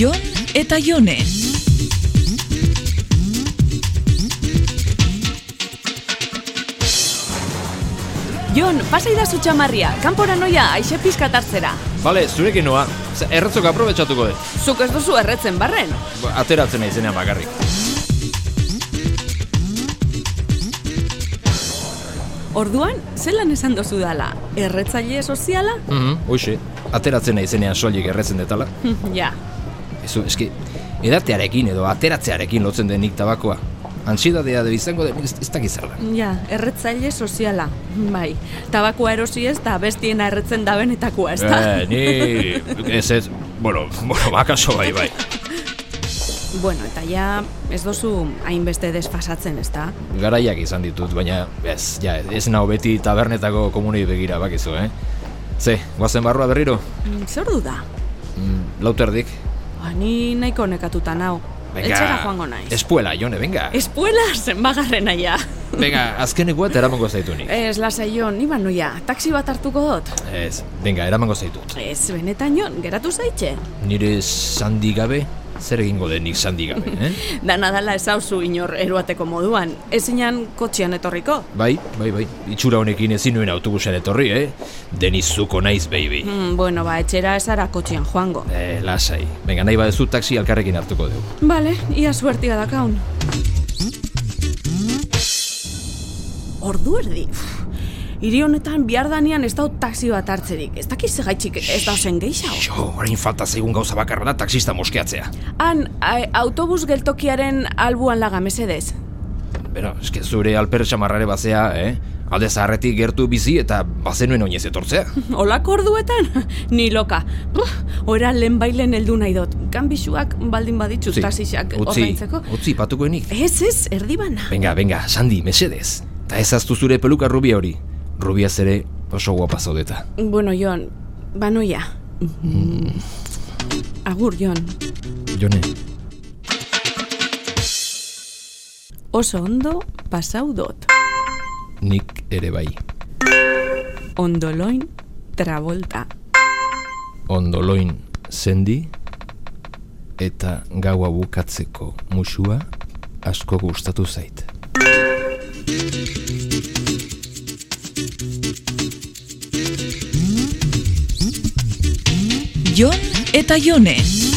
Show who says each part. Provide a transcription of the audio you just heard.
Speaker 1: Jon eta Jone.
Speaker 2: Jon, pasai da zutxamarria, kanpora noia, aixe pizkat hartzera.
Speaker 3: Bale, zurekin noa. Ze, Erretzok aprobetxatuko dut.
Speaker 2: Zuk ez duzu erretzen barren.
Speaker 3: Ba, Ateratzen naizenean bakarrik.
Speaker 2: Orduan, zelan esan dozu dala? Erretzaile soziala?
Speaker 3: Mhm, hoxe. Ateratzen naizenean soilik erretzen detala.
Speaker 2: Hm, ja,
Speaker 3: Ezu, eski, edatearekin edo ateratzearekin lotzen den nik tabakoa. Antxidadea edo izango den ez, ez dakit zer da.
Speaker 2: ja, erretzaile soziala. Bai, tabakoa erosi ez da bestiena erretzen da benetakoa, ez da?
Speaker 3: Eh, ni... Ez ez... Bueno, bueno, bakaso bai, bai.
Speaker 2: Bueno, eta ja, ez duzu hainbeste desfasatzen, ez da?
Speaker 3: Garaiak izan ditut, baina ez, ja, ez nau beti tabernetako komunei begira bakizu, eh? Ze, guazen barrua berriro?
Speaker 2: Mm, Zer du da?
Speaker 3: Mm, lauterdik.
Speaker 2: Ba, ni nahiko nekatuta nau. Etxera joango naiz.
Speaker 3: Espuela, Jone, venga.
Speaker 2: Espuela zenbagarrena ja.
Speaker 3: Venga, azkenekoa eta eramango zaitu nik.
Speaker 2: Ez, lasai Jon, ni banoia, taksi bat hartuko dut.
Speaker 3: Ez, venga, eramango zaitut.
Speaker 2: Ez, benetan Jon, geratu zaitxe.
Speaker 3: Nire sandik gabe, zer egingo den nik sandik gabe, eh?
Speaker 2: Dana dala ez hauzu inor eruateko moduan, ezinan kotxean etorriko.
Speaker 3: Bai, bai, bai, itxura honekin ezin nuen autobusen etorri, eh? Denizuko naiz, baby.
Speaker 2: Mm, bueno, ba, etxera ezara kotxean joango.
Speaker 3: Eh, lasai. Venga, nahi badezu taksi alkarrekin hartuko dugu.
Speaker 2: Bale, ia suertia dakaun. Ordu erdi. Uf, Hiri honetan bihar danean ez dau taxi bat hartzerik. Ez dakiz segaitxik ez da zen gehiago.
Speaker 3: Jo, orain falta zaigun gauza bakarra da taksista moskeatzea.
Speaker 2: Han, a- autobus geltokiaren albuan laga mesedez.
Speaker 3: Bera, eske zure alper xamarrare bazea, eh? Alde zaharretik gertu bizi eta bazenuen oinez etortzea.
Speaker 2: Olako orduetan? Ni loka. Uf, Ora lehenbailen heldu nahi dot. Kanbixuak baldin baditzu taxixak
Speaker 3: utzi,
Speaker 2: ordaintzeko.
Speaker 3: utzi, patukoenik.
Speaker 2: Ez, ez, erdi bana.
Speaker 3: Venga, venga, Sandy, mesedez. Ta ez aztu zure peluka rubia hori. Rubiaz ere oso guapa zaudeta.
Speaker 2: Bueno, Jon, banoia. Agur, Jon.
Speaker 3: Jone,
Speaker 2: Oso ondo pasau dot.
Speaker 3: nik ere bai.
Speaker 2: Ondoloin travolta.
Speaker 3: Ondoloin zendi eta gaua bukatzeko musua asko gustatu zait.
Speaker 1: Jon eta Jone.